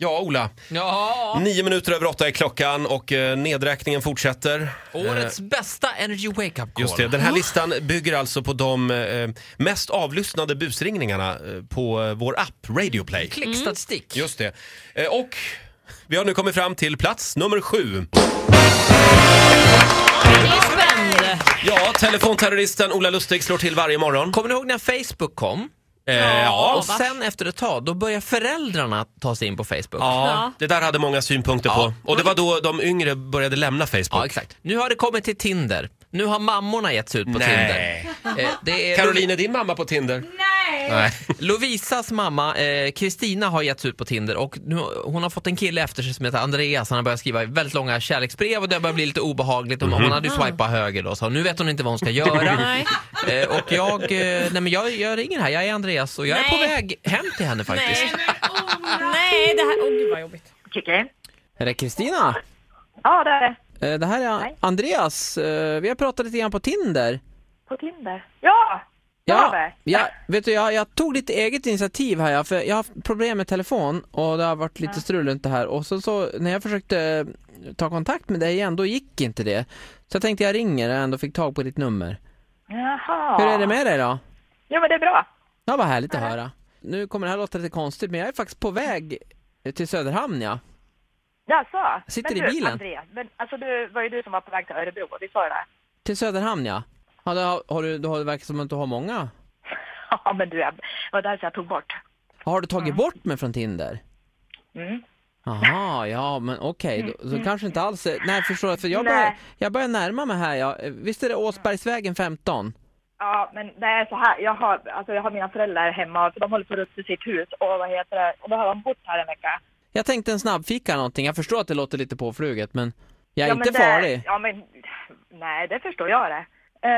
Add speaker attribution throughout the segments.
Speaker 1: Ja, Ola. Nio minuter över åtta är klockan och eh, nedräkningen fortsätter.
Speaker 2: Årets bästa Energy Wake Up Call.
Speaker 1: Eh, Just det, den här listan bygger alltså på de eh, mest avlyssnade busringningarna eh, på eh, vår app Radio Play.
Speaker 2: Klickstatistik.
Speaker 1: Just det. Eh, och vi har nu kommit fram till plats nummer sju.
Speaker 3: Det är spännande.
Speaker 1: Ja, telefonterroristen Ola Lustig slår till varje morgon.
Speaker 2: Kommer ni ihåg när Facebook kom?
Speaker 1: Eh, ja.
Speaker 2: och sen efter ett tag, då börjar föräldrarna ta sig in på Facebook.
Speaker 1: ja, det där hade många synpunkter
Speaker 2: Ja.
Speaker 1: på. Och det var då de yngre började lämna
Speaker 2: Ja,
Speaker 1: Facebook.
Speaker 2: exakt. Nu har det kommit till Tinder. Nu har mammorna gett sig ut på
Speaker 1: Nej.
Speaker 2: Tinder. Eh, det är
Speaker 1: Caroline, är din mamma på Tinder?
Speaker 2: Nej. Lovisas mamma eh, Kristina har getts ut på Tinder och nu, hon har fått en kille efter sig som heter Andreas. Han har börjat skriva väldigt långa kärleksbrev och det börjar bli lite obehagligt. Och Hon hade ju swipat höger då så nu vet hon inte vad hon ska göra.
Speaker 3: Mhm. Ah. Nej.
Speaker 2: eh, och jag, eh, nej men jag, jag ringer här, jag är Andreas och jag är på
Speaker 3: Nej.
Speaker 2: väg hem till henne faktiskt.
Speaker 3: Nej. Nej, det här... Åh, gud vad jobbigt.
Speaker 4: Kiki?
Speaker 2: Är det Kristina? Eh,
Speaker 4: Ja, det är det.
Speaker 2: Det här är Andreas. Eh, Vi har pratat lite grann på Tinder.
Speaker 4: På Tinder. Ja!
Speaker 2: Ja,
Speaker 4: Över.
Speaker 2: jag, vet du, jag, jag tog lite eget initiativ här, ja, för jag har haft problem med telefon och det har varit lite strul runt det här och så, så när jag försökte eh, ta kontakt med dig igen, då gick inte det. Så jag tänkte jag ringer när jag ändå fick tag på ditt nummer.
Speaker 4: Jaha.
Speaker 2: Hur är det med dig då?
Speaker 4: Jo, men det är bra.
Speaker 2: Ja, vad härligt att höra. Nu kommer det här låta lite konstigt, men jag är faktiskt på väg eh, till Söderhamn ja.
Speaker 4: Jaså?
Speaker 2: Sitter
Speaker 4: men
Speaker 2: i
Speaker 4: du,
Speaker 2: bilen.
Speaker 4: Andreas, men alltså du, var ju du som var på väg till Örebro, vi sa ju det.
Speaker 2: Till Söderhamn ja. ja det har, har du, det har- det verkar som att du har många.
Speaker 4: Ja, men du, jag var därför jag tog bort.
Speaker 2: Har du tagit bort mig från Tinder?
Speaker 4: Mm.
Speaker 2: Jaha, ja men okej, då, så kanske inte alls är- Nej förstår jag, för jag
Speaker 4: Nej.
Speaker 2: börjar, jag börjar närma mig här, ja. visst är det Åsbergsvägen 15?
Speaker 4: Ja, men det är så här, jag har, alltså jag har mina föräldrar hemma, så de håller på att rusta sitt hus och vad heter det, och då har de bott här en vecka.
Speaker 2: Jag tänkte en snabbfika eller någonting, jag förstår att det låter lite påfluget men jag är
Speaker 4: ja,
Speaker 2: inte
Speaker 4: men det,
Speaker 2: farlig.
Speaker 4: Ja, men nej, det förstår jag det. Eh,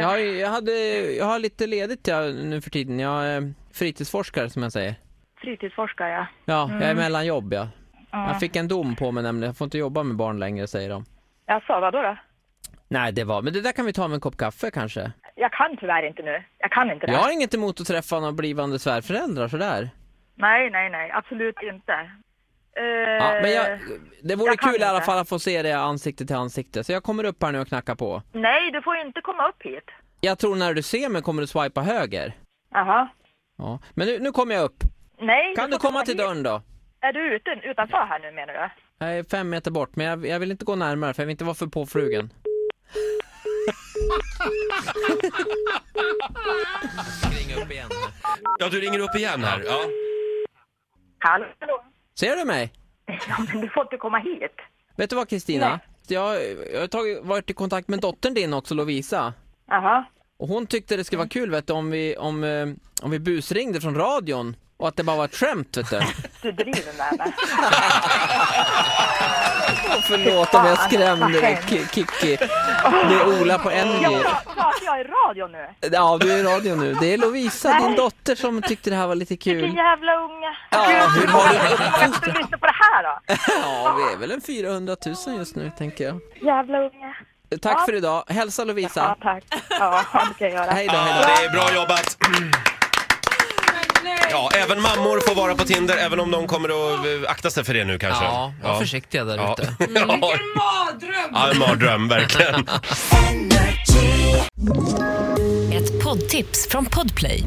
Speaker 2: Jag har, ju- jag, hade, jag har lite ledigt ja, nu för tiden, jag är eh, fritidsforskare som jag säger.
Speaker 4: Fritidsforskare, ja.
Speaker 2: Ja,
Speaker 4: Mm.
Speaker 2: jag är mellan jobb ja. Jag fick en dom på mig nämligen, jag får inte jobba med barn längre säger de.
Speaker 4: Jaså, vadå då?
Speaker 2: Nej det var, men det där kan vi ta med en kopp kaffe kanske.
Speaker 4: Jag kan tyvärr inte nu. Jag kan inte det.
Speaker 2: Jag har inget emot att träffa några blivande svärföräldrar sådär.
Speaker 4: Nej, nej, nej, absolut inte. Eh,
Speaker 2: Ja, men jag, det vore
Speaker 4: jag kan
Speaker 2: kul i alla
Speaker 4: inte.
Speaker 2: fall att få se det ansikte till ansikte, så jag kommer upp här nu och knackar på.
Speaker 4: Nej, du får ju inte komma upp hit.
Speaker 2: Jag tror när du ser mig kommer du swipa höger.
Speaker 4: Jaha.
Speaker 2: Ja. Men nu, nu kommer jag upp.
Speaker 4: Nej,
Speaker 2: Kan du
Speaker 4: får
Speaker 2: komma till
Speaker 4: hit.
Speaker 2: dörren då?
Speaker 4: Är du ute, utanför här nu menar du?
Speaker 2: Jag är fem meter bort, men jag, jag vill inte gå närmare för jag vill inte vara för påflugen.
Speaker 1: Ja, du ringer upp igen här. Ja.
Speaker 4: Hallå?
Speaker 2: Ser du mig?
Speaker 4: Ja, men du får inte komma hit.
Speaker 2: Vet du vad Kristina? Jag, jag har tagit, varit i kontakt med dottern din också, Lovisa.
Speaker 4: Jaha.
Speaker 2: Och hon tyckte det skulle vara kul vet du, om vi, om, eh, om vi busringde från radion och att det bara var ett skämt vet du.
Speaker 4: Du driver med mig.
Speaker 2: Förlåt om jag
Speaker 4: Fan,
Speaker 2: skrämde
Speaker 4: vad
Speaker 2: dig, Ki- Kikki. Det är Ola på Energy.
Speaker 4: Pratar jag i radio nu?
Speaker 2: Ja, du är i radio nu. Det är Lovisa, din dotter, som tyckte det här var lite
Speaker 4: Vilken
Speaker 2: kul.
Speaker 4: jävla unge.
Speaker 2: Ja, hur
Speaker 4: Gud,
Speaker 2: har du-
Speaker 4: hur många ska lyssna på det här då?
Speaker 2: Ja, vi är väl en 400 000 just nu, tänker jag.
Speaker 4: Jävla unge.
Speaker 2: Tack för idag. Hälsa
Speaker 4: Ja,
Speaker 2: Lovisa.
Speaker 4: tack. Ja, det ska jag göra.
Speaker 2: Hej då, hej då.
Speaker 1: Ja, det är bra jobbat. Ja, även mammor får vara på Tinder, även om de kommer att eh, akta sig för det nu kanske.
Speaker 2: Ja, var försiktiga där
Speaker 1: Ja.
Speaker 2: ute.
Speaker 1: Mm, Vilken mardröm! Ja, en mardröm, verkligen.
Speaker 5: Ett poddtips från Podplay.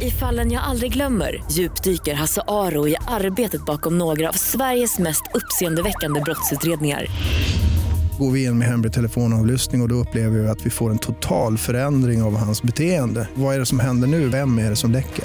Speaker 5: I fallen jag aldrig glömmer djupdyker Hasse Aro i arbetet bakom några av Sveriges mest uppseendeväckande brottsutredningar.
Speaker 6: går vi in med hemlig telefonavlyssning och, och då upplever vi att vi får en total förändring av hans beteende. Vad är det som händer nu? Vem är det som läcker?